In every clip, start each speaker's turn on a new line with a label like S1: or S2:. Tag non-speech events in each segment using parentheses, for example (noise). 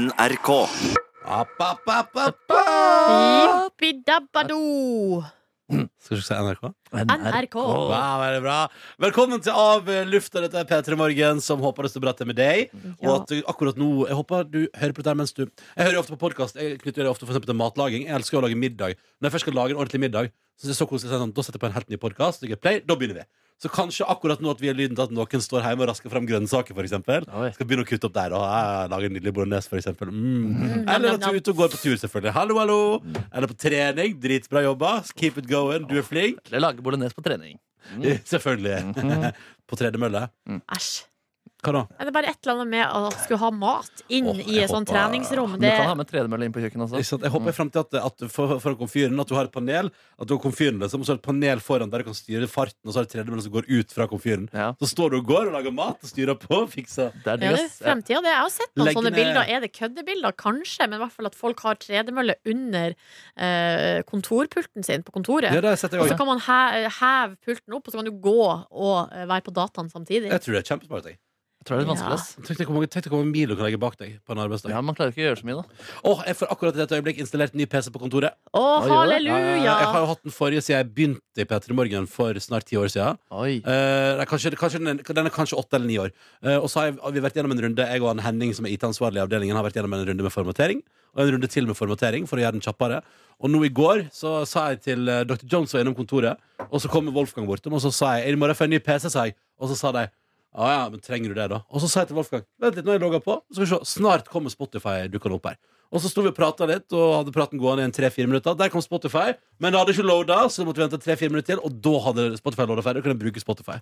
S1: NRK.
S2: App, app, app, app.
S3: Jippidabado!
S2: Skal du ikke si NRK?
S3: NRK.
S2: Wow, veldig bra. Velkommen til Av lufta. Dette er P3 Morgen, som håper det står bra til med deg. Og
S3: Ja.
S2: at du akkurat nå Jeg håper du hører på dette her mens du Jeg hører jo ofte på podkast. Jeg knytter det ofte for eksempel til matlaging. Jeg elsker å lage middag. Når jeg først skal lage en ordentlig middag, så er det så koselig sånn, da setter jeg på en helt ny podkast. Da begynner vi. Så kanskje akkurat nå at vi har lyden til at noen står hjemme og rasker fram grønnsaker, f.eks.
S4: Oi.
S2: Skal begynne å kutte opp der og eh, lage en nydelig bolognese, f.eks. Mm. Eller at du er ute og går på tur, selvfølgelig. Hallo, hallo. Eller på trening. Dritbra jobba. Keep it going. Du er flink.
S4: Eller lage bolognese på trening.
S2: (laughs) Selvfølgelig. (laughs) på tredemølle.
S3: Æsj.
S2: Hva da?
S3: Er det bare et eller annet med å skulle ha mat inn
S2: Åh,
S3: i
S2: jeg
S3: et sånt
S2: håper-
S3: treningsrom?
S4: Du
S3: Det,
S4: kan ha med tredemølle inn på kjøkkenet
S2: Ikke
S4: også.
S2: sant? Jeg håper i fremtiden at, at for, for komfyren at du har et panel At du har komfyren liksom, og så er det et panel foran der du kan styre farten, og så er det tredemølle som går ut fra komfyren.
S4: Ja,
S2: Så står du og går og lager mat og styrer på og fikser.
S4: det er
S3: ja,
S4: digg,
S3: det er
S4: ass. Ja.
S3: fremtida, det. Jeg har sett noen
S2: Legg
S3: sånne
S2: ned-
S3: bilder. Er det køddebilder? Kanskje. Men i hvert fall at folk har tredemølle under eh, kontorpulten sin på kontoret.
S2: Ja, det setter
S3: Og
S2: jeg
S3: så
S2: også.
S3: kan man he heve pulten opp, og så kan du gå og eh, være på dataen samtidig.
S2: Jeg tror det er kjempesmart. jeg.
S4: Jeg tror det er litt
S3: Ja.
S4: vanskelig, ass.
S2: Tenk deg hvor mange, tenk deg hvor mange mil du kan legge bak deg på en arbeidsdag.
S4: Ja, man klarer ikke å gjøre så mye, da.
S2: Åh, jeg får akkurat i dette øyeblikk installert en ny PC på kontoret.
S3: Å,
S4: gjør det?
S3: halleluja!
S2: Jeg har jo hatt den forrige siden jeg begynte i P3 Morgen for snart ti år siden.
S4: Oi.
S2: Eh, det er kanskje, kanskje den, er- den er kanskje åtte eller ni år. Eh, og så har jeg, har vi vært gjennom en runde Jeg og han Henning, som er IT-ansvarlig i avdelingen, har vært gjennom en runde med formatering. Og en runde til med formatering for å gjøre den kjappere. Og nå i går så sa jeg til eh, Dr. Jones var innom kontoret, og så kom Wolfgang bortom, og så sa jeg I morgen får jeg en ny PC, sa jeg. Og så sa de ja, ja, men trenger du det, da? Og så sa jeg til Wolfgang Vent litt, nå har jeg logga på. Så skal vi se, Snart kommer Spotify dukkende opp her. Og så sto vi og prata litt, og hadde praten gående i en tre-fire minutter. Der kom Spotify, men det hadde ikke loada, så måtte vi vente tre-fire minutter til, og da hadde Spotify loada ferdig, og kunne bruke Spotify.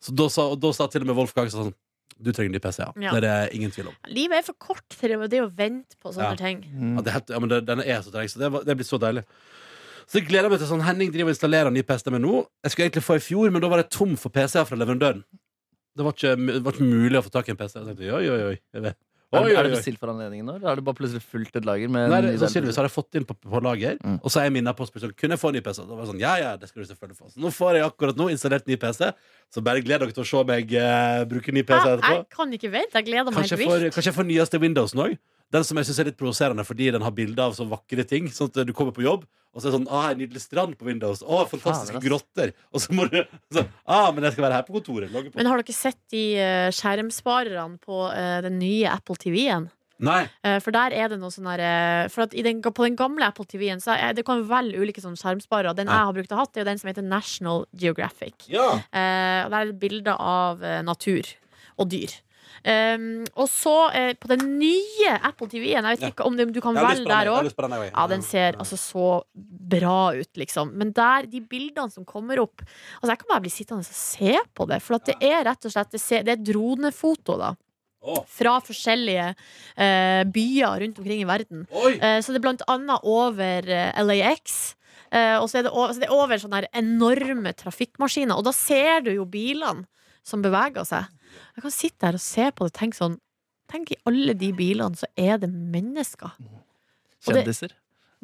S2: Så da sa, og da sa til og med Wolfgang sånn Du trenger ny PC, ja.
S3: Ja.
S2: Det er det ingen tvil om.
S3: Livet er for kort til det å vente på sånne
S2: Ja.
S3: ting.
S4: Mm.
S2: Ja, det er helt, ja, men det, denne er så treg, så det, var- det blir så deilig. Så jeg gleder meg til sånn Henning driver og installerer en ny PC med nå. Jeg skulle egentlig få i fjor, men da var det tom for PC-er fra leverandøren. Det var ikke, det var ikke mulig å få tak i en PC. Jeg tenkte, oi, oi, oi. Jeg vet. Oi,
S4: Er,
S2: oi,
S4: det- er
S2: oi.
S4: det bestilt for anledningen nå, eller har du bare plutselig fulgt et lager med
S2: Nei,
S4: en
S2: det,
S4: ny
S2: sannsynligvis
S4: del?
S2: har jeg fått det inn på, på lager,
S4: Mm.
S2: og så er jeg minnet på å spørre sånn, Kunne jeg få en ny PC. Da var jeg sånn, ja, ja, det skal du selvfølgelig få. Så nå får jeg akkurat nå installert ny PC, så bare gleder dere til å se meg eh, bruke ny PC
S3: Jeg,
S2: etterpå.
S3: jeg kan ikke vente. Jeg gleder meg
S2: Kanskje
S3: helt
S2: jeg, får,
S3: vilt.
S2: kanskje jeg får nyeste Windowsen òg. Den som jeg synes er litt provoserende fordi den har bilder av så vakre ting. Sånn at du kommer på jobb, og så er det sånn ah, en nydelig strand på Windows. Å, fantastiske
S4: Fader,
S2: grotter. Og så må du så, ah, men jeg skal være her på kontoret. Logge på.
S3: Men har dere sett de eh, skjermsparerne på eh, den nye Apple TV-en?
S2: Nei.
S3: Eh, For der er det noe sånn derre For at i den, på den gamle Apple TV-en så er det kan velge ulike sånne skjermsparere. Den
S2: Ja.
S3: jeg har brukt og hatt, er jo den som heter National Geographic.
S2: Ja.
S3: Eh, og der er det bilder av eh, natur og dyr. Um, og så eh, på den nye Apple TV-en Jeg vet
S2: Ja.
S3: ikke om det, du kan
S2: Jeg har lyst
S3: velge
S2: på den, jeg
S3: der
S2: har
S3: òg.
S2: lyst på den, jeg også.
S3: Ja, den ser altså så bra ut, liksom. Men der, de bildene som kommer opp Altså, jeg kan bare bli sittende og se på det. For at det er rett og slett Det, ser, det er dronefoto, da.
S2: Å,
S3: Fra forskjellige eh, byer rundt omkring i verden.
S2: Oi!
S3: Eh, så det er blant annet over eh, LAX. Eh, og så er det over, så det er over sånne her enorme trafikkmaskiner. Og da ser du jo bilene som beveger seg. Jeg kan sitte her og se på det og tenke sånn Tenk i alle de bilene, så er det mennesker. og det-
S4: Kjendiser.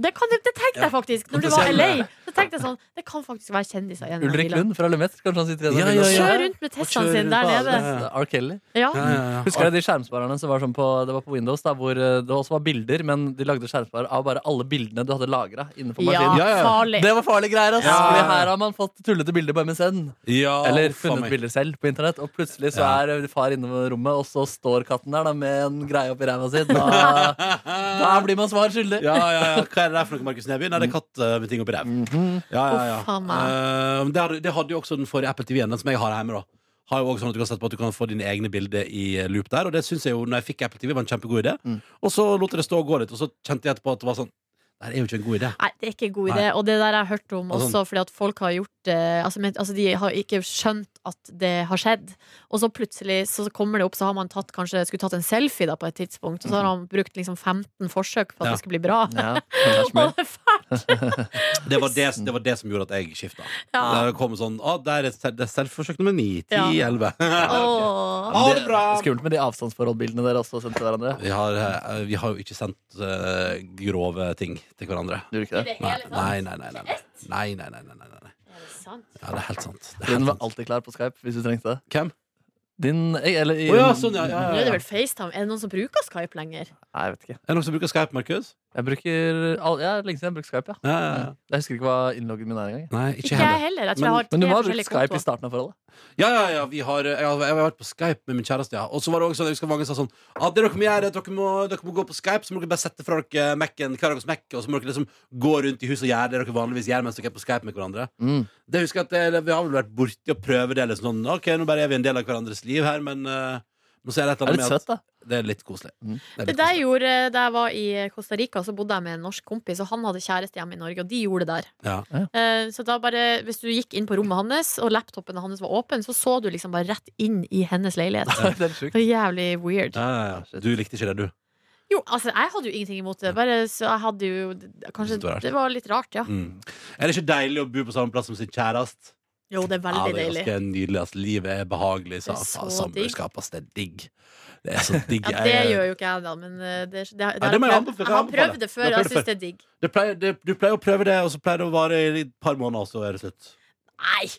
S3: Det, kan, det, det tenkte jeg faktisk Når du var i LA. Så tenkte jeg sånn Det kan faktisk være kjendiser igjen. i den
S4: Ulrik
S3: bilen.
S4: Lund fra Lumet. Kanskje han sitter i en
S2: Ja,
S4: av
S2: ja,
S4: bilene.
S2: ja.
S3: Kjør rundt med Teslaen sin der nede.
S4: R. Kelly.
S3: Ja.
S2: Ja, ja, ja.
S4: Husker jeg de skjermsparerne som var sånn på, det var på Windows, da, hvor eh, det også var bilder, men de lagde skjermsparer av bare alle bildene du hadde lagra inne på
S3: ja,
S4: maskinen?
S2: Ja, ja.
S3: farlig.
S4: Det var farlige greier, ass!
S2: Ja.
S4: Fordi her har man fått tullete bilder på MSN.
S2: ja,
S4: Eller
S2: faen
S4: funnet
S2: meg.
S4: bilder selv på internett, og plutselig så
S2: Ja.
S4: er eh, far inne på rommet, og så står katten der da med en greie oppi ræva si.
S2: (laughs)
S4: Da, da blir man svar skyldig.
S2: Ja, ja, ja. Hva er det der for noe, Markus Neby? Nei, det er katt eh, med ting oppi ræv.
S4: Mhm.
S2: Ja, ja, ja.
S3: Å, faen meg.
S2: Eh, men det, hadde, det hadde jo også den forrige Apple TV-en, den som jeg har hjemme. da har jo også sånn at Du kan sette på at du kan få dine egne bilder i eh, loop der. Og det synes jeg jo, når jeg fikk Apple TV, var en kjempegod idé. Og så lot jeg det stå og gå litt, og så kjente jeg etterpå at det var sånn Det her er jo ikke en god idé.
S3: Nei, det er ikke en god idé. Og det der jeg har jeg hørt om
S2: Og sånn-
S3: også fordi at folk har gjort det altså, men, altså, de har ikke skjønt at det har skjedd. Og så plutselig så kommer det opp, så har man tatt, kanskje skulle tatt en selfie da, på et tidspunkt, og så har han brukt liksom 15 forsøk på at
S2: Ja.
S3: det skulle bli bra.
S4: Ja, det er smell.
S3: Og det er fælt.
S2: Det var det, det, var det som gjorde at jeg skifta.
S3: (laughs) Ja.
S2: Det kom sånn Å, der er sel- det er selvforsøk nummer ni, ti,
S3: Ja.
S2: elleve. (laughs)
S3: Åh.
S2: Ha det bra!
S4: Skummelt med de avstandsforholdbildene dere også sendte hverandre.
S2: Vi har, eh, vi har jo ikke sendt eh, grove ting til hverandre.
S4: Du gjorde ikke det?
S2: Nei, nei, nei. nei, nei, nei. nei, nei, nei, nei, nei, nei.
S3: Er det sant?
S2: Ja, det er helt sant. Det er
S4: Den
S2: helt
S4: var
S2: sant.
S4: alltid klar på Skype hvis du trengte det.
S2: Hvem?
S4: Din Eller i-
S2: Å ja, sånn, ja, ja,
S3: Nå
S2: ja.
S3: er det vel FaceTime. Er det noen som bruker Skype lenger?
S4: Nei, jeg vet ikke.
S2: Er det noen som bruker Skype, Markus?
S4: Jeg bruker all, ja, Lenge siden jeg har brukt Skype, ja.
S2: Ja, ja, ja.
S4: Jeg husker ikke hva innloggen min er engang. jeg.
S2: Nei,
S3: Ikke
S2: ikke
S3: jeg
S2: heller.
S3: heller. Jeg tror
S2: Men-
S3: jeg har
S4: Men du må
S3: tre
S4: ha brukt
S3: forskjellige
S4: Skype i
S3: kontoer.
S4: starten av forholdet.
S2: Ja, ja, ja, vi har Jeg har, jeg har vært på Skype med min kjæreste, ja. Og så var det også sånn, jeg husker mange sa sånn at det dere må gjøre, er at dere må, dere må gå på Skype, så må dere bare sette fra dere Mac-en, hver deres Mac, og så må dere liksom gå rundt i huset og gjøre det dere vanligvis gjør mens dere er på Skype med hverandre.
S4: Mm.
S2: Det husker jeg at det, Vi har vel vært borti og prøve det, eller sånn OK, nå bare er vi en del av hverandres liv her, men eh, nå ser jeg et
S4: Det er
S2: eller
S4: litt
S2: annet
S4: søtt, da.
S2: at det er litt koselig.
S4: Mm.
S2: er
S3: Det
S2: litt
S3: der
S2: koselig.
S3: gjorde da jeg var i Costa Rica, så bodde jeg med en norsk kompis, og han hadde kjæreste hjemme i Norge, og de gjorde det der.
S2: Ja.
S4: Ja.
S3: Eh, Så da bare, hvis du gikk inn på rommet hans, og laptopen hans var åpen, så så du liksom bare rett inn i
S4: (laughs)
S3: hennes leilighet.
S4: det er sjukt.
S3: (laughs) Det var jævlig weird.
S2: Ja, ja,
S4: Ah,
S2: ja. Du likte ikke det, du.
S3: Jo, altså, jeg hadde jo ingenting imot det, bare så jeg hadde jo Kanskje
S2: Det var rart.
S3: det var litt rart, ja.
S2: Mm. Er det ikke deilig å bo på samme plass som sin kjæreste?
S3: Jo, det er
S2: Ja,
S3: veldig
S2: det er
S3: deilig.
S2: ganske nydelig. ass. livet er behagelig.
S3: Det
S2: Sa,
S3: er så
S2: faen,
S3: digg.
S2: Samboerskap, ass. Det er digg. Det er
S3: (laughs)
S2: så digg.
S3: Ja, det
S2: Jeg-
S3: gjør jo ikke jeg, da, men eh, det, det, det,
S2: Ja, det må jeg anbefale, det
S3: jeg har
S2: anbefaler jeg.
S3: prøvd det
S2: Du
S3: før,
S2: har prøvd
S3: og jeg
S2: det før.
S3: syns det er digg.
S2: det pleier, det, du pleier å prøve det, og så pleier det å vare i et par måneder, og så er det slutt.
S3: Nei!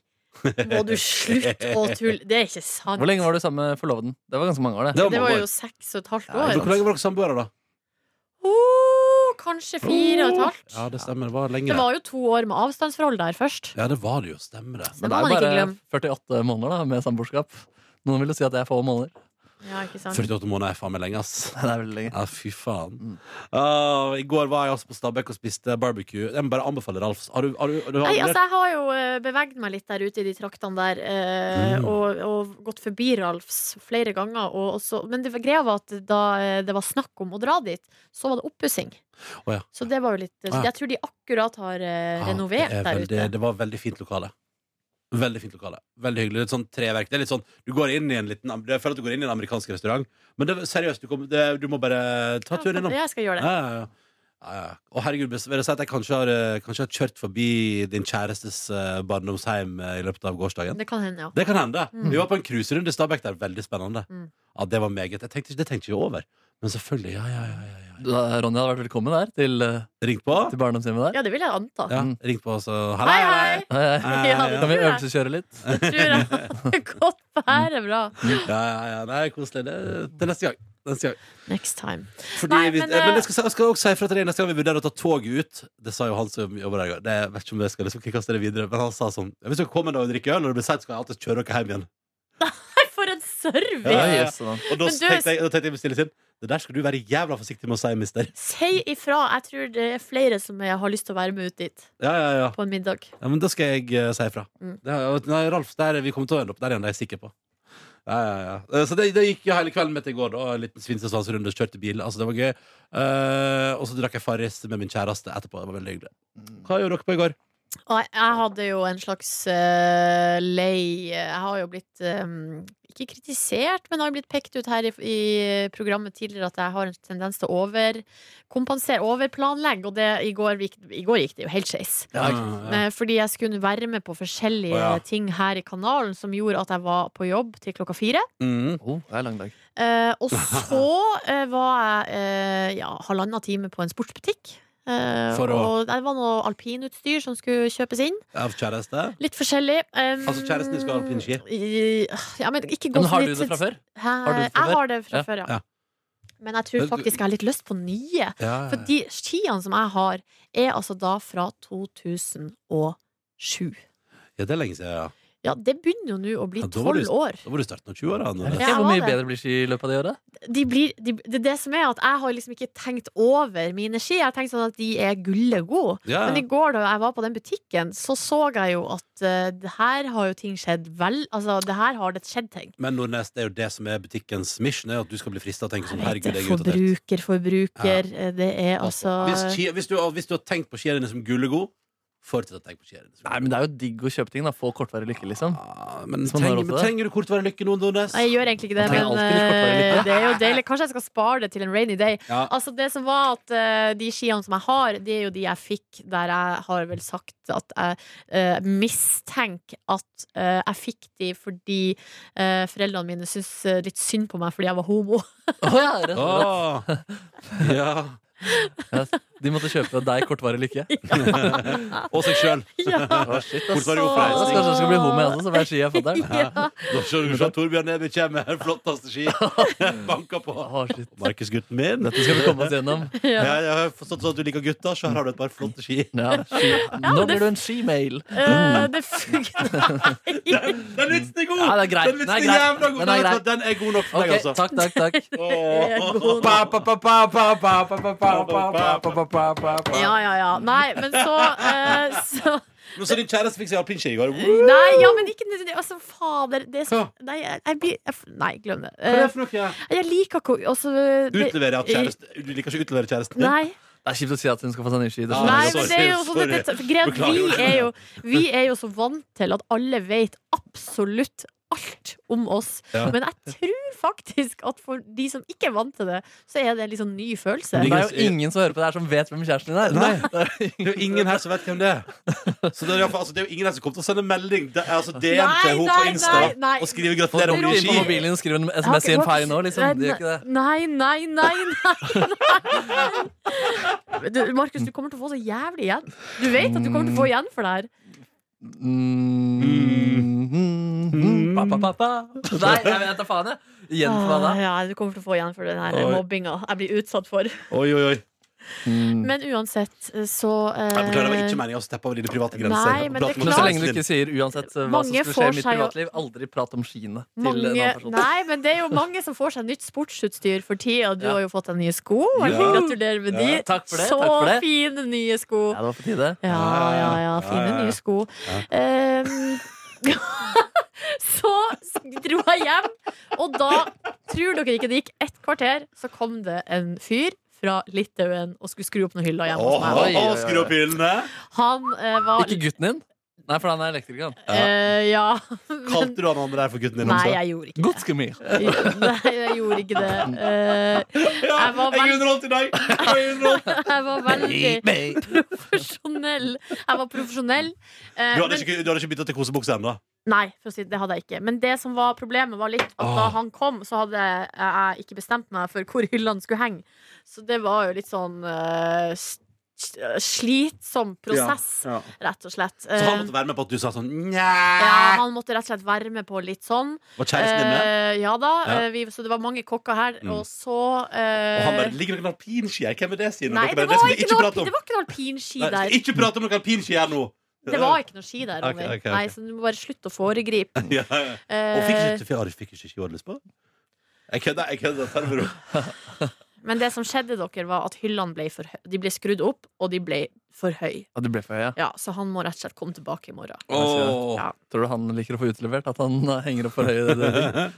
S3: Må du slutte å tulle? Det er ikke sant.
S4: Hvor lenge var du sammen med forloveden? Det var ganske mange år, det.
S2: Det var
S3: Det
S2: mange
S3: var
S2: år.
S3: jo seks og et halvt
S4: Ja,
S3: år.
S2: Hvor lenge var dere samboere, da?
S3: Oh, kanskje fire og et halvt.
S2: Oh. Ja, det stemmer. Det var
S3: Det
S2: lenger.
S3: var jo to år med avstandsforhold der først.
S2: Ja, det var det jo. Stemmer det.
S3: Det
S4: Men
S3: må
S4: det er
S3: man ikke
S4: bare
S3: glemme.
S4: 48 måneder da, med samboerskap. Noen vil jo si at det er få måneder.
S3: Ja, ikke sant?
S2: 48 måneder er faen meg lenge, ass.
S4: Det er veldig lenge.
S2: Ja, fy faen.
S4: Mm.
S2: Ah, I går var jeg altså på Stabekk og spiste barbecue. Jeg må bare anbefale Ralfs. Har du, har du, har du
S3: Nei,
S2: aldri-
S3: altså Jeg har jo eh, beveget meg litt der ute i de traktene der, eh,
S2: Mm.
S3: og, og gått forbi Ralfs flere ganger. Og, og så, men det, var- greia var at da eh, det var snakk om å dra dit, så var det oppussing.
S2: Å, ja.
S3: Så det var jo litt eh,
S2: Ah, ja.
S3: Jeg tror de akkurat har eh,
S2: Ja,
S3: renovert
S2: Ah, det er
S3: der
S2: veldig,
S3: ute.
S2: Det var veldig fint lokale. Veldig fint lokale. Veldig hyggelig. Litt sånn treverk. Det er litt sånn, du går inn i en liten Jeg føler at du går inn i en amerikansk restaurant, men det, seriøst, du, kom, det, du må bare ta turen innom.
S3: Ja, jeg skal gjøre det.
S2: Ja, ja, ja. Ja, ja. Og herregud, bes- vil jeg si at jeg kanskje har, eh, kanskje har kjørt forbi din kjærestes eh, barndomsheim eh, i løpet av gårsdagen?
S3: Det kan hende, ja.
S2: Det kan hende.
S3: Mm.
S2: Vi var på en cruiserunde i Stabæk der. Veldig spennende.
S3: Mm.
S2: Ja, det var meget. Jeg tenkte, ikke- det tenkte jeg ikke over. Men selvfølgelig. Ja, ja, ja. ja, ja.
S4: Du, da, Ronja hadde vært velkommen der, til, eh,
S2: Ringt på.
S4: til barndomshjemmet der.
S3: Ja, det vil jeg anta.
S2: Ja,
S4: Mm.
S2: ringt på, så
S3: Hei, hei!
S4: Hei,
S3: (laughs)
S4: hei.
S2: Hei, hei, hei.
S4: Kan vi øvelseskjøre litt?
S3: Det tror jeg
S2: (laughs)
S3: hadde gått være bra.
S2: Ja, ja, ja, det er koselig. Det, til neste gang. Neste gang.
S3: Next time.
S2: Fordi
S3: Nei,
S2: vi,
S3: men,
S2: men,
S3: eh,
S2: jeg skal, si- jeg skal også si ifra til deg neste gang vi vurderer å ta toget ut. Det sa jo han som jobber der i går. Det- Jeg vet ikke om jeg skal liksom kaste det videre, men han sa sånn Hvis dere kommer da og drikker øl, og det blir seint, skal jeg alltid kjøre dere hjem igjen.
S3: Nei, for en service!
S2: Ja, ja.
S4: Yes, sånn.
S2: Og da
S3: Men du-
S2: tenkte jeg, da tenkte jeg med stille sinn Det der skal du være jævla forsiktig med å si, mister.
S3: Si ifra. Jeg tror det er flere som jeg har lyst til å være med ut dit
S2: Ja, ja, ja.
S3: på en middag.
S2: ja men da skal jeg eh, si ifra.
S3: Mm.
S2: Det har- Nei, Ralf, der vi kommer til å ende opp. Der igjen, det er jeg sikker på. Ja, ja, ja. Eh, Så det, det gikk jo hele kvelden med til i går. Da. En liten svinsesvansrunde, kjørte bil. Altså, det var gøy. Eh, og så drakk jeg Farris med min kjæreste etterpå. Det var veldig hyggelig. Hva gjorde dere på i går?
S3: Og jeg, jeg hadde jo en slags eh, lei Jeg har jo blitt eh, ikke kritisert, men har jo blitt pekt ut her i, i programmet tidligere at jeg har en tendens til å overkompensere, overplanlegge, og det i går, gikk, i går gikk det jo helt skeis.
S4: Ja,
S2: ja.
S3: Eh, Fordi jeg skulle være med på forskjellige
S2: Å, ja.
S3: ting her i kanalen som gjorde at jeg var på jobb til klokka fire.
S2: Mm.
S4: Oh, det er en lang dag.
S3: Eh,
S2: (laughs)
S3: og så eh, var jeg eh, ja, halvannen time på en sportsbutikk. Eh,
S2: For å-
S3: Og det var noe alpinutstyr som skulle kjøpes inn.
S2: Av kjæreste?
S3: Litt forskjellig. Um,
S2: Altså, kjæresten din skal ha alpinski?
S3: i- Ja, men ikke gå
S4: Men
S3: så
S4: har du
S3: litt-
S4: det fra før?
S3: Hæ?
S4: du det fra
S3: Jeg
S4: før?
S3: har det fra
S4: Ja.
S3: før, ja.
S2: Ja.
S3: Men jeg tror
S2: Men du-
S3: faktisk jeg har litt lyst på nye.
S2: Ja,
S3: For de skiene som jeg har, er altså da fra 2007.
S2: ja, det er lenge siden. Ja.
S3: Ja, det begynner jo nå å bli
S2: Ja, da var
S3: tolv
S2: det-
S3: år.
S2: Da var du starten av 20-åra.
S4: Jeg vet
S2: Nordnes.
S3: Ja,
S4: ikke hvor mye
S3: jeg har det.
S4: bedre blir ski i løpet av det året.
S3: De blir, de, det er det som er at jeg har liksom ikke tenkt over mine ski. Jeg har tenkt sånn at de er gulle gode.
S2: Ja,
S3: Men i
S2: ja.
S3: går da jeg var på den butikken, så så jeg jo at eh, det her har jo ting skjedd vel. Altså, det her har det skjedd ting.
S2: Men Nordnes, det er jo det som er butikkens mission, er at du skal bli frista og tenke sånn
S3: Jeg vet
S2: herregud,
S3: det,
S2: jeg er utdatert.
S3: forbruker, forbruker. eh, Det er altså
S2: Hvis, skia- hvis, du, hvis du har tenkt på skiene dine som gullegod, fortsett å tenke på skiene dine som
S4: Nei, men Det er jo digg å kjøpe ting. da Få kortvarig lykke, liksom.
S2: Ja, Ah, men
S4: Hvis man har råd
S2: trenger,
S4: til
S2: men
S4: det.
S2: trenger du kortvarig lykke nå, Nordnes?
S3: Nei, jeg gjør egentlig ikke det,
S4: Man trenger
S3: men
S4: alltid litt kortvarig
S3: eh,
S4: lykke.
S3: det er jo deilig. Kanskje jeg skal spare det til en rainy day.
S2: Ja.
S3: Altså det som var at eh, De skiene som jeg har, det er jo de jeg fikk der jeg har vel sagt at jeg eh, mistenker at eh, jeg fikk de fordi eh, foreldrene mine syntes eh, litt synd på meg fordi jeg var homo.
S4: Å, ja, rett og slett.
S2: Åh. Ah. ja.
S4: Ja, De måtte kjøpe deg kortvarig lykke.
S2: Og seg sjøl.
S3: (laughs)
S2: (laughs)
S3: Ja.
S4: Å, shit, ass.
S2: Kortvarig
S4: Jeg skal
S2: oppreisning.
S4: kanskje jeg skal bli homo, altså. jeg
S3: (laughs)
S4: også, så får jeg ski av fatter'n.
S3: Ja.
S2: Nå ser du at Torbjørn Neby kommer med flotteste ski. Banker på.
S4: Å, shit.
S2: Markus-gutten min.
S4: Dette skal vi komme oss gjennom.
S2: Ja, jeg har forstått sånn at du liker gutter, så her har du et par flotte ski.
S4: Ja, ski. Nå blir du en skimail.
S3: Eh, det fungerer (laughs) Nei.
S2: Den vitsen er god!
S4: Ja, den er grei. Den
S2: Den vitsen
S4: er
S2: er
S4: grei.
S2: jævla god.
S4: Den er grei.
S2: Den er god nok for
S4: Ok,
S2: meg, altså.
S4: takk, takk,
S3: (laughs)
S4: takk.
S2: Åh.
S1: Pa, pa, pa, pa, pa, pa, pa, pa, pa, pa, pa, pa, pa, pa, pa.
S3: Ja, ja, ja. Nei, men så, eh, så
S2: Men så din kjæreste fikk seg alpinski i går. Hva
S3: Nei, ja, men ikke nødvendigvis. Altså, fader. Det er så,
S2: Hva?
S3: nei, jeg, jeg blir jeg, Nei, glem det.
S2: er det
S3: Eh,
S2: for noe?
S3: jeg liker ikke å altså, det-
S2: Utlevere at kjæreste Du liker ikke å utlevere kjæresten din?
S3: Nei.
S4: Det er kjipt å si at hun skal få seg nye ski. det
S2: Ja,
S3: Nei,
S4: skjønner jeg.
S3: men
S2: sorry,
S3: det er jo sånn
S2: sorry.
S3: at det, greia er at
S2: Beklager.
S3: vi er jo Vi er jo så vant til at alle vet absolutt alt om oss.
S2: Ja.
S3: Men jeg tror faktisk at for de som ikke er vant til det, så er det en litt sånn ny følelse.
S4: Men Det er jo ingen som hører på det her som vet hvem kjæresten din er.
S2: Nei.
S4: (laughs) Det er
S2: Det er jo ingen her som vet hvem det er. Så det er, i hvert fall- altså, det er jo ingen her som kommer til å sende melding det er, altså, DM
S3: Nei,
S2: til henne på
S3: nei,
S2: Insta
S3: nei, nei.
S2: og skrive
S4: Få
S2: 'gratulerer, hun
S4: inn
S2: blir
S4: på
S2: ski'.
S4: mobilen din og skrive en
S3: Jeg har
S4: SMS i
S3: ikke-
S4: en fei nå, liksom. Det gjør ikke det.
S3: Nei, nei, nei, nei, nei. Du, Markus, du kommer til å få så jævlig igjen. Du vet at du kommer til å få igjen for det her.
S4: Mm. Pa, pa, pa, pa. Nei, jeg vet da faen, jeg. Igjen for hva da?
S3: Ah, Ja, du kommer til å få igjen for den her
S2: Oi.
S3: mobbinga jeg blir utsatt for.
S2: Oi, oi, oi.
S3: Men uansett, så eh,
S2: Jeg beklager, det var ikke meningen å steppe over dine private grenser.
S3: Nei, men det er
S2: Prate om
S4: Men så
S3: klart.
S4: lenge du ikke sier uansett eh, hva som
S3: Mange
S4: skulle skje
S3: får
S4: i mitt
S3: seg jo-
S4: privatliv, aldri prat om skiene til en
S3: mange,
S4: annen person.
S3: Nei, men det er jo mange som får seg nytt sportsutstyr for tida. Du
S4: Ja.
S3: har jo fått deg nye sko.
S2: Ja.
S3: Eller? Gratulerer med de.
S4: Ja, takk for det,
S3: Så
S4: takk for det.
S3: fine nye sko.
S4: Ja, det var på tide.
S3: Ja, ja, ja. Fine
S2: Ja, ja, ja.
S3: nye sko. Ehm, (laughs) så dro jeg hjem, og da, tror dere ikke det gikk ett kvarter, så kom det en fyr fra Litauen og skulle skru opp noen hyller hjemme hos
S2: Åh,
S3: meg.
S4: Oi, oi,
S2: åh,
S4: oi.
S2: skru opp hyllene!
S3: Han eh, var
S4: Ikke gutten din? Nei, for han er elektriker. han.
S3: eh, Ja. (laughs) Men,
S2: Kalte du han andre der for gutten din
S3: nei,
S2: også?
S3: jeg gjorde ikke det. (laughs)
S4: Godskemir.
S3: Nei, jeg gjorde ikke det.
S4: (laughs)
S3: Eh,
S2: Ja,
S3: Jeg var
S2: jeg
S3: veldig-
S2: er underholdt i
S3: (laughs)
S2: dag! Jeg er underholdt.
S3: Jeg var veldig
S4: Nei,
S3: profesjonell. Jeg var profesjonell. Eh,
S2: Du hadde
S3: men,
S2: ikke, du hadde ikke bytta til kosebukse ennå?
S3: nei, for å si det, det hadde jeg ikke. Men det som var problemet, var litt at da
S2: Åh.
S3: han kom, så hadde jeg, jeg ikke bestemt meg for hvor hyllene skulle henge. Så det var jo litt sånn eh, s- slitsom prosess,
S2: Ja, ja.
S3: rett og slett.
S2: Så han
S3: Eh,
S2: måtte være med på at du sa sånn
S3: ja,
S2: Nja
S3: han måtte rett og slett være med på litt sånn.
S2: Var kjæresten din med?
S3: Eh, ja da.
S2: Ja.
S3: eh, Vi, så det var mange kokker her.
S2: Mm.
S3: Og så eh,
S2: Og han bare ligger det noen alpinski her? Hvem er det, Sine?
S3: Nei,
S2: Dere bare,
S3: det var
S2: skal vi
S3: ikke noe,
S2: prate om.
S3: det var ikke noe alpinski
S2: Nei,
S3: der.
S2: skal Ikke prate om noen alpinski her nå!
S3: Det var ikke noe ski der,
S2: Ok,
S3: Ronny.
S2: ok, ok.
S3: Nei, så du må bare slutte å foregripe.
S2: (laughs) ja, ja. (laughs) Og fikk
S3: Eh,
S2: ikke, fikk, Ari, fikk ikke ski du hadde lyst på? Jeg kødder. jeg kødder, Ta det med ro.
S3: men det som skjedde, dere, var at hyllene ble, for høy. De ble skrudd opp, og de ble for høy.
S4: Ja, du ble for høy, ja.
S3: Ja, så han må rett og slett komme tilbake i morgen.
S4: Åh.
S3: Ja.
S4: Tror du han liker å få utlevert at han (laughs) eh, henger opp for høy? i Det,
S2: (laughs)
S4: det.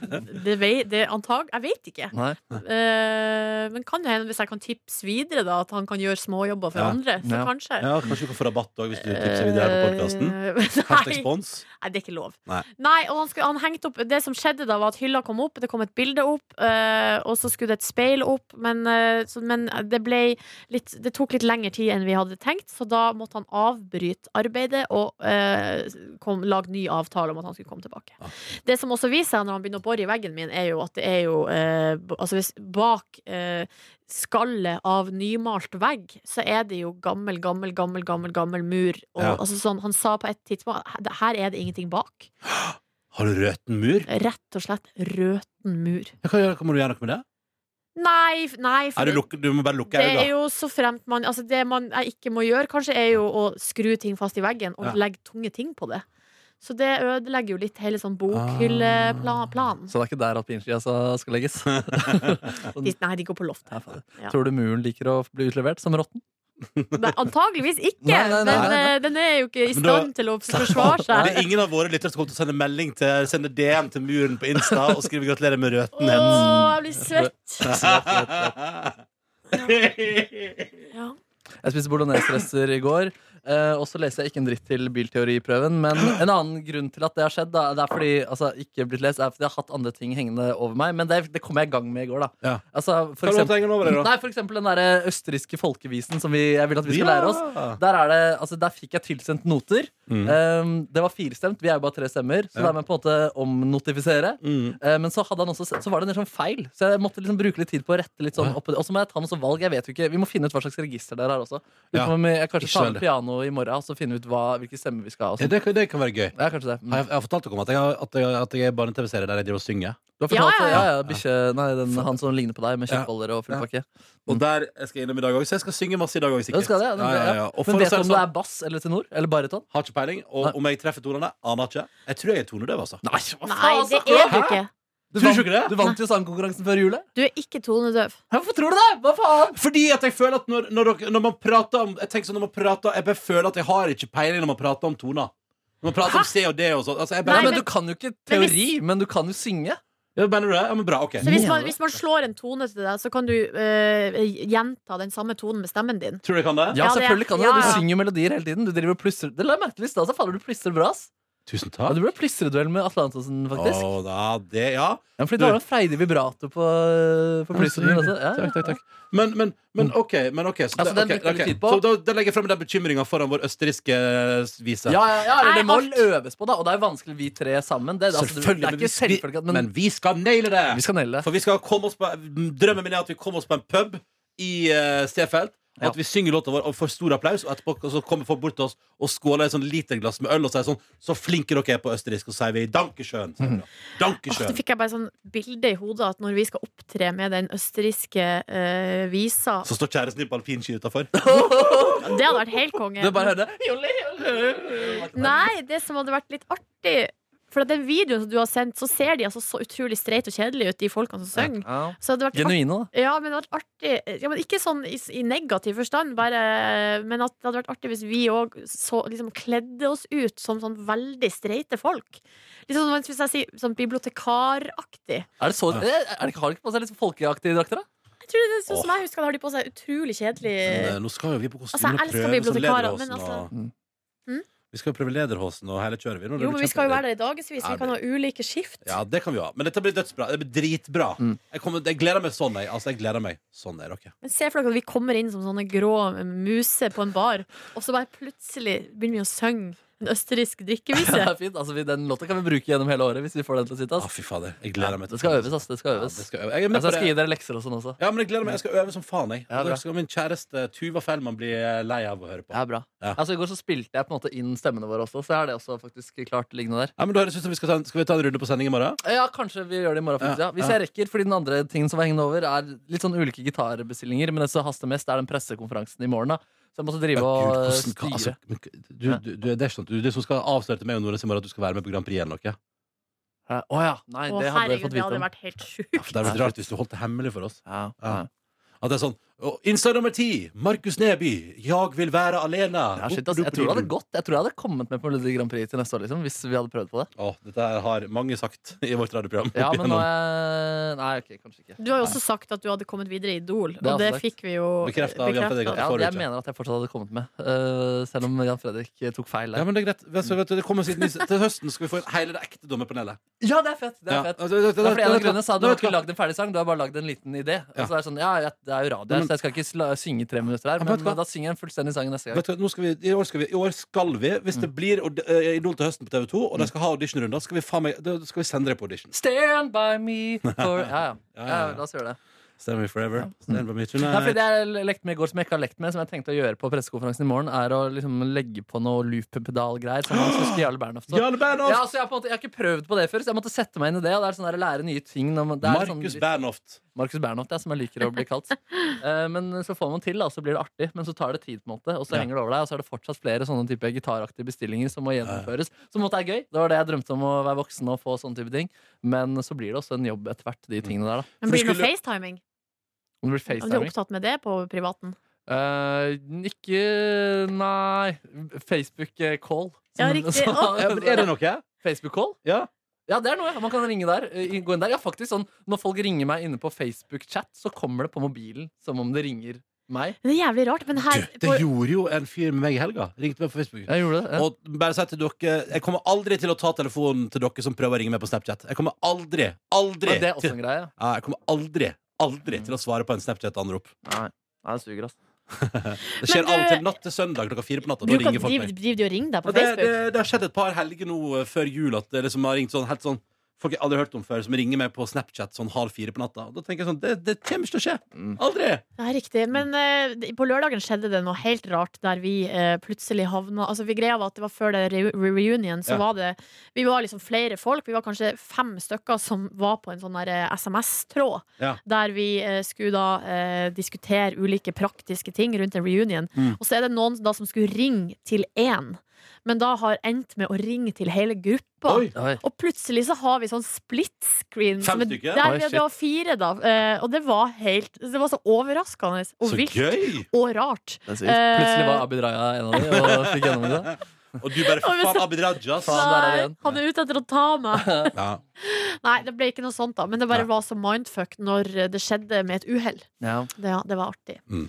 S3: Det, vei- det antag... Jeg vet ikke.
S4: Nei.
S3: Eh, men kan det hende, hvis jeg kan tipse videre, da, at han kan gjøre småjobber for
S2: Ja.
S3: andre? Så
S4: Ja.
S3: kanskje.
S2: Ja, Kanskje du kan få rabatt òg, hvis du tipser videre her på podkasten. Hashtag
S3: (laughs) podkasten.
S2: spons.
S3: Eh, Nei, det er ikke lov.
S2: Nei.
S3: og han, skulle, han hengte opp Det som skjedde da, var at hylla kom opp, det kom et bilde opp, eh, og så skulle det et speil opp, men, eh, så, men det ble litt Det tok litt lengre tid enn vi hadde tenkt, så da måtte han avbryte arbeidet og eh, kom, lage ny avtale om at han skulle komme tilbake.
S2: Ah.
S3: Det som også viser seg når han begynner å bore i veggen min, er jo at det er jo eh, b- Altså, hvis bak eh, skallet av nymalt vegg, så er det jo gammel, gammel, gammel, gammel, gammel mur. Og,
S2: Ja.
S3: altså sånn, han sa på et tidspunkt "Her- her er det ingenting bak.
S2: Har du røten mur?
S3: Rett og slett røten mur.
S2: Ja, Hva gjør- hva må du gjøre noe med det?
S3: Nei, f- nei
S2: Nei, du, lukker, du må bare lukke
S3: det er
S2: øynene.
S3: jo så fremt man Altså, det man jeg ikke må gjøre, kanskje, er jo å skru ting fast i veggen og
S2: Ja.
S3: legge tunge ting på det. Så det ødelegger jo litt hele sånn
S2: Ah.
S3: bokhylleplanen.
S4: Så det er ikke der alpinskia altså, skal legges?
S2: (laughs)
S4: (laughs)
S3: De, nei, de går på loftet.
S4: Ja, faen.
S3: Ja.
S4: Tror du muren liker å bli utlevert som rotten?
S2: (laughs)
S3: Nei, antageligvis ikke!
S4: Nei, nei, nei,
S3: den,
S4: nei.
S3: eh, den er jo ikke i
S2: Men da-
S3: stand
S2: (laughs)
S3: til å forsvare
S2: Det
S3: seg.
S2: er ingen av våre lyttere som kommer til å sende melding til Sende DM til muren på Insta og skrive 'gratulerer med røten' hennes.
S3: Åh, jeg blir
S4: Jeg
S3: svett. Ja.
S4: spiste bolognesdresser i går. Eh, og så leser jeg ikke en dritt til bilteoriprøven. Men en annen grunn til at det har skjedd, da, det er fordi altså, ikke blitt lest, er fordi jeg har hatt andre ting hengende over meg. Men det, det kom jeg i gang med i går, da.
S2: Ja.
S4: Altså, for
S2: Hva er det
S4: eksempel,
S2: du henger over
S4: (laughs)
S2: deg, da?
S4: nei, for eksempel den der østerrikske folkevisen som vi, jeg vil at vi skal
S2: Ja.
S4: lære oss. Der, er det, altså, der fikk jeg tilsendt noter.
S2: Mm.
S4: Eh, det var firestemt, vi er jo bare tre stemmer, så
S2: Ja.
S4: da må jeg på en måte omnotifisere.
S2: Mm.
S4: Eh, Men så, hadde han også, så var det en del sånn feil, så jeg måtte liksom bruke litt tid på å rette litt sånn opp. Og så må jeg ta noe sånn valg. Jeg vet jo ikke, Vi må finne ut hva slags register dere har også.
S2: Ja.
S4: Utenom jeg kanskje tar
S2: Ikke så
S4: med
S2: veldig.
S4: piano i morgen og så finne ut hva, hvilke stemmer vi skal ha. Og sånn.
S2: Ja, det, kan- det kan være gøy.
S4: ja, kanskje det. Mm.
S2: Har jeg, jeg har fortalt dere om at jeg, har- at jeg, at jeg er bare en TV-serie der jeg driver og
S4: Du
S2: synger.
S4: har
S3: Ja,
S4: fortalt
S3: ja,
S4: ja, ja,
S3: ja.
S4: bikkje, nei, den, han som ligner på deg med
S2: Ja.
S4: kjøttboller og full
S2: Ja.
S4: pakke.
S2: Og der jeg skal innom i dag òg, så jeg skal synge masse i dag òg,
S4: Ja, du
S2: sikkert.
S4: skal det, ja, den-
S2: Ja, ja, ja. Og for
S4: Men
S2: å
S4: vet
S2: si
S4: du om
S2: det
S4: du
S2: sånn,
S4: er bass eller tenor? Eller bariton?
S2: har ikke peiling. Og
S4: Nei.
S2: om jeg treffer tonene, aner ikke. Jeg tror jeg er tonedøv, altså.
S4: Nei, hva
S3: Nei, det er du ikke.
S4: Du
S2: Tror du
S4: vant,
S2: ikke det?
S4: du vant jo sangkonkurransen før jul.
S3: Du er ikke tonedøv.
S4: Hvorfor tror du det? Hva faen?
S2: Fordi at jeg føler at når, når, dere, når man prater om Jeg tenker sånn når man prater Jeg bare føler at jeg har ikke peiling når man prater om toner. Når man prater om C og D og sånn. Altså, jeg
S4: Nei,
S2: bare,
S3: Nei,
S4: men Du
S3: men-
S4: kan jo ikke
S3: Men hvis-
S4: teori, men du kan jo synge.
S2: ja, mener du det? Ja, men bra, ok
S3: Så hvis man,
S4: Mener du?
S3: hvis man slår en tone til deg, så kan du eh, gjenta den samme tonen med stemmen din.
S2: Tror du jeg kan det?
S4: Ja,
S3: Ja, det-
S4: selvfølgelig kan du det.
S3: ja,
S4: Du
S3: ja.
S4: synger jo melodier hele tiden. Du driver og plystrer. Det la jeg merke til i stad. så faller Du plystrer bra, ass.
S2: Tusen
S4: Ja,
S2: takk.
S4: du ble plystreduell med Atle Antonsen, faktisk.
S2: Å, da, det, ja.
S4: Ja, fordi du Mm, har en freidig vibrato på, eh, på plystringen også. Ja,
S2: Mm. Takk, takk, takk. Men, men, men OK. Men, ok, så,
S4: Altså,
S2: det-
S4: den
S2: ok,
S4: brukte vi
S2: ok.
S4: tid på.
S2: så da, da legger jeg frem den bekymringa foran vår østerrikske vise.
S4: Ja, ja, ja, eller det må
S3: Nei, alt.
S4: øves på, da. Og det er vanskelig, vi tre sammen. Det, altså, det
S2: Selvfølgelig,
S4: er ikke
S2: men vi-
S4: selvfølgelig, at- men,
S2: Men vi skal naile det!
S4: vi skal naile det.
S2: For vi skal komme oss på Drømmen min er at vi kommer oss på en pub i uh, Stefeld.
S4: Ja.
S2: At vi synger låta vår og får stor applaus, og etterpå så kommer folk bort til oss og skåler et sånn literglass med øl og sier sånn Så flinke dere er på østerriksk, og så sier vi 'Dankeschön'. sier vi da.
S3: Mhm. Åh, så
S2: Dankeschön.
S3: fikk jeg bare sånn bilde i hodet at når vi skal opptre med den østerrikske eh, visa
S2: Så står kjæresten din på alpinski utafor.
S3: Eh, Det hadde vært helt konge.
S4: Du bare hører det.
S3: Nei, det som hadde vært litt artig For at den videoen som du har sendt, så ser de altså så utrolig streit og kjedelig ut, de folkene som synger.
S4: Ja.
S3: Så det hadde vært artig,
S4: Genuine, da.
S3: ja, men det hadde vært artig ja, men Ikke sånn i, s- i negativ forstand, bare, men at det hadde vært artig hvis vi òg liksom, kledde oss ut som sånn veldig streite folk. Litt sånn, hvis jeg sier sånn bibliotekaraktig.
S4: Er det så, eh, er det ikke, har de ikke på seg litt sånn folkeaktige drakter, da?
S3: Jeg tror det er sånn som jeg husker, da har de på seg utrolig kjedelig
S2: eh, Nå skal jo vi på
S3: Altså, jeg
S2: kostymeprøve
S3: elsker
S2: som
S3: bibliotekarer,
S2: lederhosen.
S3: men altså-
S4: Mm.
S2: Og...
S3: Mm?
S2: Vi skal jo prøve lederhosen og hele kjøret. Vi. Nå er det
S3: Jo, men vi skal jo
S2: kjempe-
S3: være der i dagevis.
S2: Ja,
S3: Vi kan ha ulike skift.
S2: Ja, det kan vi ha. Men dette blir dødsbra. Det blir dritbra.
S4: Mm.
S2: Jeg, kommer, jeg gleder meg sånn, jeg. Altså, jeg gleder meg sånn, jeg, dere.
S3: Men Se for dere at vi kommer inn som sånne grå muser på en bar, og så bare plutselig begynner vi å synge en østerriksk
S2: (laughs)
S4: Det
S3: drikkevise.
S4: er fint, altså, vi- Den låta kan vi bruke gjennom hele året hvis vi får den til å sitte.
S2: Å,
S4: Ass.
S2: fy fader. Jeg gleder meg
S4: Det skal øves, ass. Det skal
S2: Ja,
S4: øves.
S2: det skal øves. Jeg er
S4: Jeg
S2: med
S4: skal
S2: på det.
S4: skrive dere lekser og sånn også.
S2: Ja, men jeg gleder meg. Jeg skal øve som faen. jeg
S4: Ja,
S2: Og
S4: bra.
S2: da skal min kjæreste eh, Tuva Fellmann bli eh, lei av å høre på.
S4: Ja, bra.
S2: Ja.
S4: Altså, I går så spilte jeg på en måte inn stemmene våre også, så jeg har det også faktisk klart liggende der.
S2: Ja, men da høres det ut som vi skal, ta en, skal vi ta en runde på sending i morgen?
S4: Ja, kanskje vi gjør det i morgen. faktisk,
S2: Ja,
S4: Ja. Hvis jeg rekker, fordi den andre tingen som var hengende over, er litt sånn ulike gitarbestillinger, men det som haster mest, er den pressekonferansen i morgen, da. Så jeg måtte drive og eh,
S2: hvordan kan-
S4: styre.
S2: altså, men k- du, du, du, det er ikke sånn at du, du som skal avsløre til meg og Nordnes i morgen at du skal være med på Grand Prix eller noe.
S4: Hæ? Å ja. Nei, det
S3: Å,
S4: hadde jeg
S3: herregud,
S4: fått
S3: det
S4: vite
S3: hadde
S4: om.
S3: vært helt sjukt.
S2: Ja, for det hadde vært rart hvis du holdt det hemmelig for oss.
S4: Ja, ja.
S2: Ja. At det er sånn «Å, Innslag nummer ti! Markus Neby. 'Jag vil være alene'.
S4: Ja, shit, ass. Jeg tror det hadde gått. Jeg tror jeg hadde kommet med på Melodi Grand Prix til neste år, liksom, hvis vi hadde prøvd på det.
S2: Å, dette her har mange sagt (laughs) i vårt radioprogram.
S4: Ja, men nå er jeg Nei, ok, kanskje ikke.
S3: Du har jo også sagt at du hadde kommet videre i Idol,
S4: har
S3: og det
S4: jeg sagt.
S3: fikk vi jo
S2: Bekreftet av Jan Fredrik.
S3: bekreftet.
S4: Ja,
S2: får du
S4: jeg
S2: ikke.
S4: mener at jeg fortsatt hadde kommet med, eh, selv om Jan Fredrik eh, tok feil
S2: Ja,
S4: der.
S2: men det er greit. Vet du, vet du, det kommer siden, til høsten skal vi få inn hele det ekte dommerpanelet.
S4: Ja, det er fett! Det er
S2: Ja.
S4: fett.
S2: Altså, det- det-
S4: Det er fordi en av
S2: vet du hva?
S4: grunnene sa at Du
S2: Nå
S4: har
S2: vet du
S4: ikke
S2: hva?
S4: lagd en ferdig sang, du har bare lagd en liten idé. Og
S2: Ja.
S4: så er det sånn, ja, ja, Det er jo radio
S2: Ja,
S4: her,
S2: men-
S4: så jeg skal ikke sla- synge i tre minutter her,
S2: Ja,
S4: men
S2: vet du hva?
S4: da synger jeg en fullstendig sang neste gang.
S2: Vet du, hva, nå skal vi, i, år skal vi, I år skal vi, hvis det blir ord- eh, Idol til høsten på TV 2, og de skal ha auditionrunder, skal vi, faen meg, da skal vi sende deg på audition.
S4: Stand by me
S2: (laughs)
S4: for Ja, ja.
S2: Ja,
S4: ja,
S2: ja, ja.
S4: La oss gjøre det.
S2: Stand me forever. Stand by
S4: Nei,
S2: me
S4: fordi det
S2: tonight.
S4: jeg lekte med i går som jeg ikke har lekt med, som jeg tenkte å gjøre på pressekonferansen i morgen, er å liksom legge på noe loop-pedal-greier. Som han som husker Jarle Bernhoft.
S2: (gasps)
S4: så-
S2: Jarle Bernhoft!
S4: Ja, altså, jeg, har på en måte, jeg har ikke prøvd på det før, så jeg måtte sette meg inn i det. Og det er sånn der, lære nye ting når man- det er
S2: Markus
S4: sånn,
S2: Bernhoft.
S4: Markus Bernhoft, ja, som jeg liker å bli kalt. Eh, men så får man til, da, så blir det artig. Men så tar det tid, på en måte og så
S2: Ja.
S4: henger det over deg. Og så er det fortsatt flere sånne type gitaraktige bestillinger som må gjennomføres. Som på en måte er gøy. Det var det jeg drømte om å være voksen og få sånne type ting. Men så blir det også en jobb etter hvert, de tingene der, da.
S2: For
S3: Men blir det noe
S2: skulle-
S3: facetiming?
S4: Om det blir
S3: Om du er
S4: FaceTiming.
S3: opptatt med det på privaten?
S4: Eh, ikke Nei. Facebook-call.
S3: Ja,
S4: (laughs)
S3: riktig. Å.
S2: Ja, men er det noe?
S4: Facebook-call?
S2: Ja?
S4: Ja, det er noe. Man kan ringe der. eh, Gå inn der. Ja, faktisk sånn, Når folk ringer meg inne på Facebook-chat, så kommer det på mobilen som om det ringer Meg?
S3: Det er jævlig rart, men her
S2: Du, det gjorde jo en fyr med meg i helga. Ringte meg på Facebook.
S4: Jeg gjorde det. Ja.
S2: Og bare si til dere Jeg kommer aldri til å ta telefonen til dere som prøver å ringe meg på Snapchat. Jeg kommer aldri, aldri
S4: Men det er også Mm.
S2: til,
S4: en greie. ja.
S2: ja, Jeg kommer aldri, aldri til å svare på en Snapchat-anrop.
S4: Nei, Nei, det suger, ass.
S2: Det skjer
S3: Men du-
S2: av og til natt til søndag klokka fire på natta.
S3: Du
S2: Da
S3: kan
S2: ringer folk
S3: drive,
S2: meg.
S3: driver de og ringer deg
S2: Og
S3: på
S2: Det, det,
S3: Facebook?
S2: det har skjedd et par helger nå eh, før jul at det liksom har ringt sånn helt sånn Folk jeg aldri har hørt om før, som ringer meg på Snapchat sånn halv fire på natta. Og da tenker jeg sånn Det, det kommer ikke til å skje.
S4: Mm.
S2: Aldri!
S3: Ja, riktig. Men eh, det- på lørdagen skjedde det noe helt rart der vi eh, plutselig havna Altså, vi greia var at det var før det re re reunion, så
S2: Ja.
S3: var det Vi var liksom flere folk. Vi var kanskje fem stykker som var på en sånn der eh, SMS-tråd.
S2: Ja.
S3: Der vi eh, skulle da eh, diskutere ulike praktiske ting rundt en reunion.
S2: Mm.
S3: Og så er det noen da som skulle ringe til én, men da har endt med å ringe til hele gruppa.
S2: Oi!
S4: Oi.
S3: Og plutselig så har vi sånn split screen.
S2: Fem
S3: som er-
S2: stykker?
S3: Der,
S4: Oi,
S3: vi-
S4: shit.
S3: det var fire, da. Eh, og det var helt Det var så overraskende og
S2: Så
S3: vilt
S2: gøy!
S3: og rart.
S4: Det er sykt.
S3: Eh.
S4: Plutselig var Abid Raja en av de og fikk gjennom det.
S2: Og du
S3: (laughs)
S2: bare
S3: Og vi
S2: faen
S3: sa-
S2: Abid Raja. ass.
S4: Faen, der er det igjen.
S3: han er ute etter å ta
S2: (laughs)
S3: meg.
S2: Ja.
S3: Nei, det ble ikke noe sånt, da. Men det bare
S2: Nei.
S3: var så mindfuck når det skjedde med et uhell.
S4: (laughs) Ja.
S3: Det, ja, det var artig.
S2: Mm.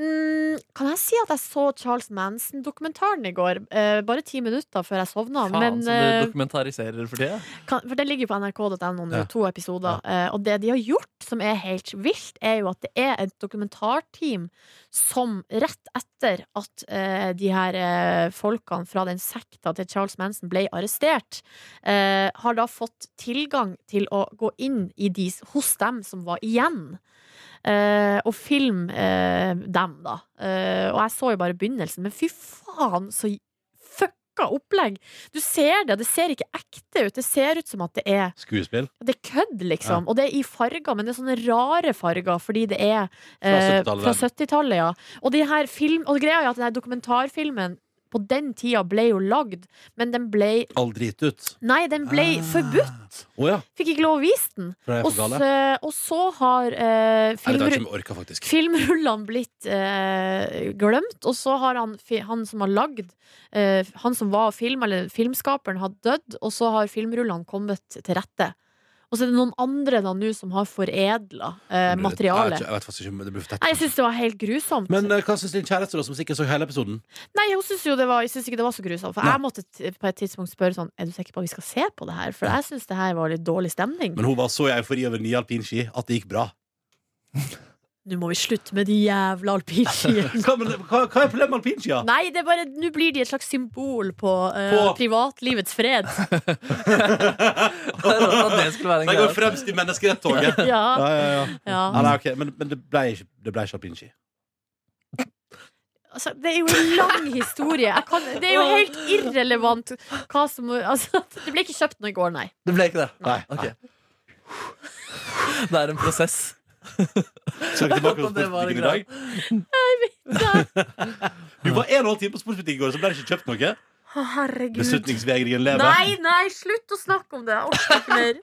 S3: Mm, kan jeg si at jeg så Charles Manson-dokumentaren i går? Eh, bare ti minutter før jeg sovna.
S4: Faen,
S3: men
S4: så
S3: eh,
S4: du dokumentariserer for (laughs) tida.
S3: kan, For det ligger jo på nrk.no nå,
S2: Ja.
S3: to episoder. eh, og det de har gjort, som er helt vilt, er jo at det er et dokumentarteam som rett etter at eh, de her eh, folkene fra den sekta til Charles Manson ble arrestert, eh, har da fått tilgang til å gå inn i de, hos dem som var igjen. eh, og filme eh, dem, da. Eh, og jeg så jo bare begynnelsen, men fy faen, så fucka opplegg! Du ser det, og det ser ikke ekte ut. Det ser ut som at det er
S2: Skuespill
S3: Det er kødd, liksom. Og det er i farger, men det er sånne rare farger fordi det er eh,
S2: 70-tallet,
S3: fra
S2: vel.
S3: 70-tallet. ja. Og, de her film, og greia er at denne dokumentarfilmen på den tida ble jo lagd, men den ble
S2: Aldri gitt ut.
S3: Nei, den ble
S2: Ah.
S3: forbudt!
S2: Å ja.
S3: Fikk ikke lov å vise den.
S2: For jeg er
S3: Og
S2: for gale.
S3: så, og så har eh,
S2: Nei, det
S3: filmru-
S2: har ikke vi orka,
S3: Eh,
S2: faktisk.
S3: filmrullene blitt eh, glemt, og så har han, fi- han som har lagd eh, Han som var film, eller filmskaperen, har dødd, og så har filmrullene kommet til rette. Og så er det noen andre da nå som har foredla eh,
S2: Jeg vet
S3: materialet.
S2: ikke- Jeg vet faktisk ikke, men det blir for tett.
S3: Nei, jeg syns det var helt grusomt.
S2: Men eh, hva syns din kjæreste, da, som sikkert så hele episoden?
S3: Nei, hun synes jo det var, jeg synes ikke det var så grusomt. For
S2: Nei.
S3: jeg måtte t- på et tidspunkt spørre sånn Er du sikker på at vi skal se på det her? For jeg syns det her var litt dårlig stemning.
S2: Men hun var så i eufori over nye alpinski at det gikk bra.
S3: Nå må vi slutte med de jævla
S2: (laughs)
S3: alpinskiene.
S2: Hva, men, hva, hva er problemet med alpinskia? (laughs)
S3: Nei, det er bare nå blir de et slags symbol på, eh,
S2: På-
S3: privatlivets
S2: (laughs)
S3: fred.
S4: At det skulle være en
S2: De går
S4: greie.
S2: fremst i menneskerettoget.
S3: Ja.
S2: Ja, ja, ja.
S3: Ja.
S2: Ja, nei, ok, men, men det ble ikke, det ble ikke alpinski.
S3: Altså, det er jo en lang historie. Jeg kan, det er jo helt irrelevant hva som altså, Det ble ikke kjøpt noe i går, nei.
S4: Det ble ikke det?
S2: Nei.
S4: Ok. (laughs) Det er en prosess.
S2: Skal ikke tilbake på
S4: (laughs) Det var
S2: sportsbutikken i
S4: greit.
S2: dag.
S4: (laughs)
S2: Du var en og en halv time på sportsbutikken i går, så ble det ikke kjøpt noe.
S3: Å, herregud.
S2: Beslutningsvegringen lever.
S3: Nei, nei, slutt å snakke om det. Jeg orker ikke mer.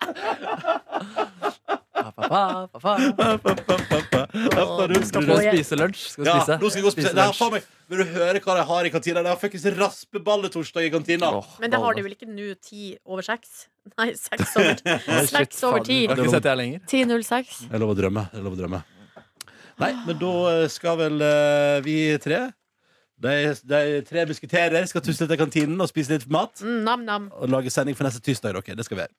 S4: Pa, pa, pa, pa, pa. Skal vi spise lunsj? Skal vi
S2: Ja,
S4: spise?
S2: nå skal vi gå og
S4: Spise
S2: spise. Nei,
S4: lunsj.
S2: faen meg. Vil du høre hva de har i kantina? De har fuckings raspeballetorsdag i kantina.
S4: Åh,
S3: (laughs) Men det har de
S4: baller.
S3: vel ikke nå? Ti over seks? Nei,
S2: (laughs)
S3: seks over ti.
S4: Shit,
S3: Seks over
S4: faen,
S3: ti.
S4: Jeg har ikke sett det her lenger.
S3: 10.06.
S2: Det er lov å drømme. Det er lov å drømme. Nei, men da eh, skal vel eh, vi tre de, de tre musketerer skal tusle til kantinen og spise litt mat.
S3: Mm, Nam-nam.
S2: Og lage sending for neste tirsdag. dere. Det skal vi gjøre.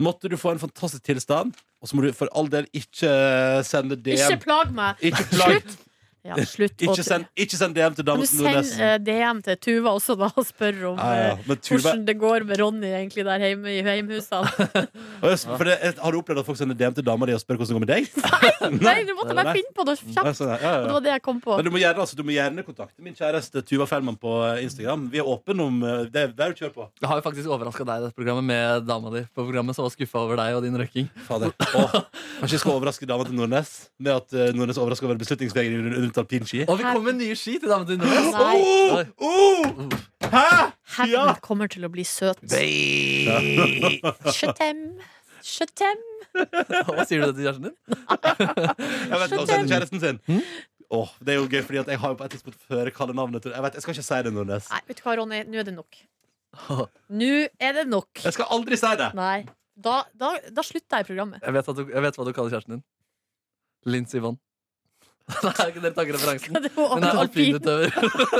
S2: Måtte du få en fantastisk tilstand, og så må du for all del ikke eh, sende
S3: Ikke
S2: DM.
S3: plag meg.
S2: Ikke plag.
S3: Slutt. Ja, slutt. å-
S2: Ikke send, ikke send DM til
S3: Kan du
S2: Damen som
S3: sende
S2: Nordnesen.
S3: eh, DM til Tuva også, da, og spørre om
S2: Ja, ja.
S3: eh,
S2: Men Tuva
S3: hvordan det går med Ronny egentlig der hjemme i heimhusene?
S2: (laughs) Å, yes, for det, Har du opplevd at folk sender DM til dama di og spør hvordan det går med deg?
S3: (laughs)
S2: (laughs)
S3: Nei, du måtte bare
S2: Nei.
S3: finne på noe
S2: Ja,
S3: kjapt.
S2: sånn, ja,
S3: Og
S2: ja, ja.
S3: det var det jeg kom på.
S2: Men du må, gjerne, altså, du må gjerne kontakte min kjæreste Tuva Fellmann på eh, Instagram. Vi er åpne om eh, det. Det er jo kjør på.
S4: Jeg har jo faktisk overraska deg i dette programmet med dama di på programmet, som var skuffa over deg og din røyking.
S2: Fader. Åh, kanskje jeg skal overraske dama til Nordnes med at eh, Nordnes overrasker over beslutningsvegring rundt- rundt alpinski.
S4: Og vi kom med nye ski til dama di nå!
S3: Nei.
S2: Åh, åh, Hæ?!
S3: Hevnen
S2: Ja.
S3: kommer til å bli søt. (laughs) Shuttem. Shuttem.
S4: (laughs) Hva sier du det til kjæresten din?
S2: Jeg vet hva hun sender kjæresten sin. Åh, det er jo gøy, fordi at jeg har jo på et tidspunkt før kalle navnet til Jeg vet, jeg skal ikke si det, Nordnes.
S3: Nei, vet du hva, Ronny? Nå er det
S2: (laughs)
S3: nok. Nå er det nok.
S2: Jeg skal aldri si det.
S3: Nei. Da,
S2: (laughs)
S3: da, da slutter jeg i programmet.
S4: Jeg vet, at du, jeg vet hva du kaller kjæresten din. Lincy Vonn. (laughs) Nei, ikke dere tar ikke referansen.
S3: Det var
S4: Hun er
S3: alpin.
S4: alpinutøver.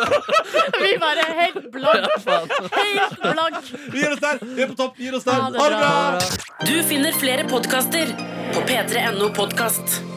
S4: (laughs)
S3: (laughs) Vi bare er helt blank.
S4: Ja, faen.
S3: Helt blank.
S2: Vi gir oss der! Vi er på topp! Vi gir oss der!
S3: Ha det
S2: Ha det
S3: bra.
S2: bra!
S5: Du finner flere podkaster på p3.no podkast.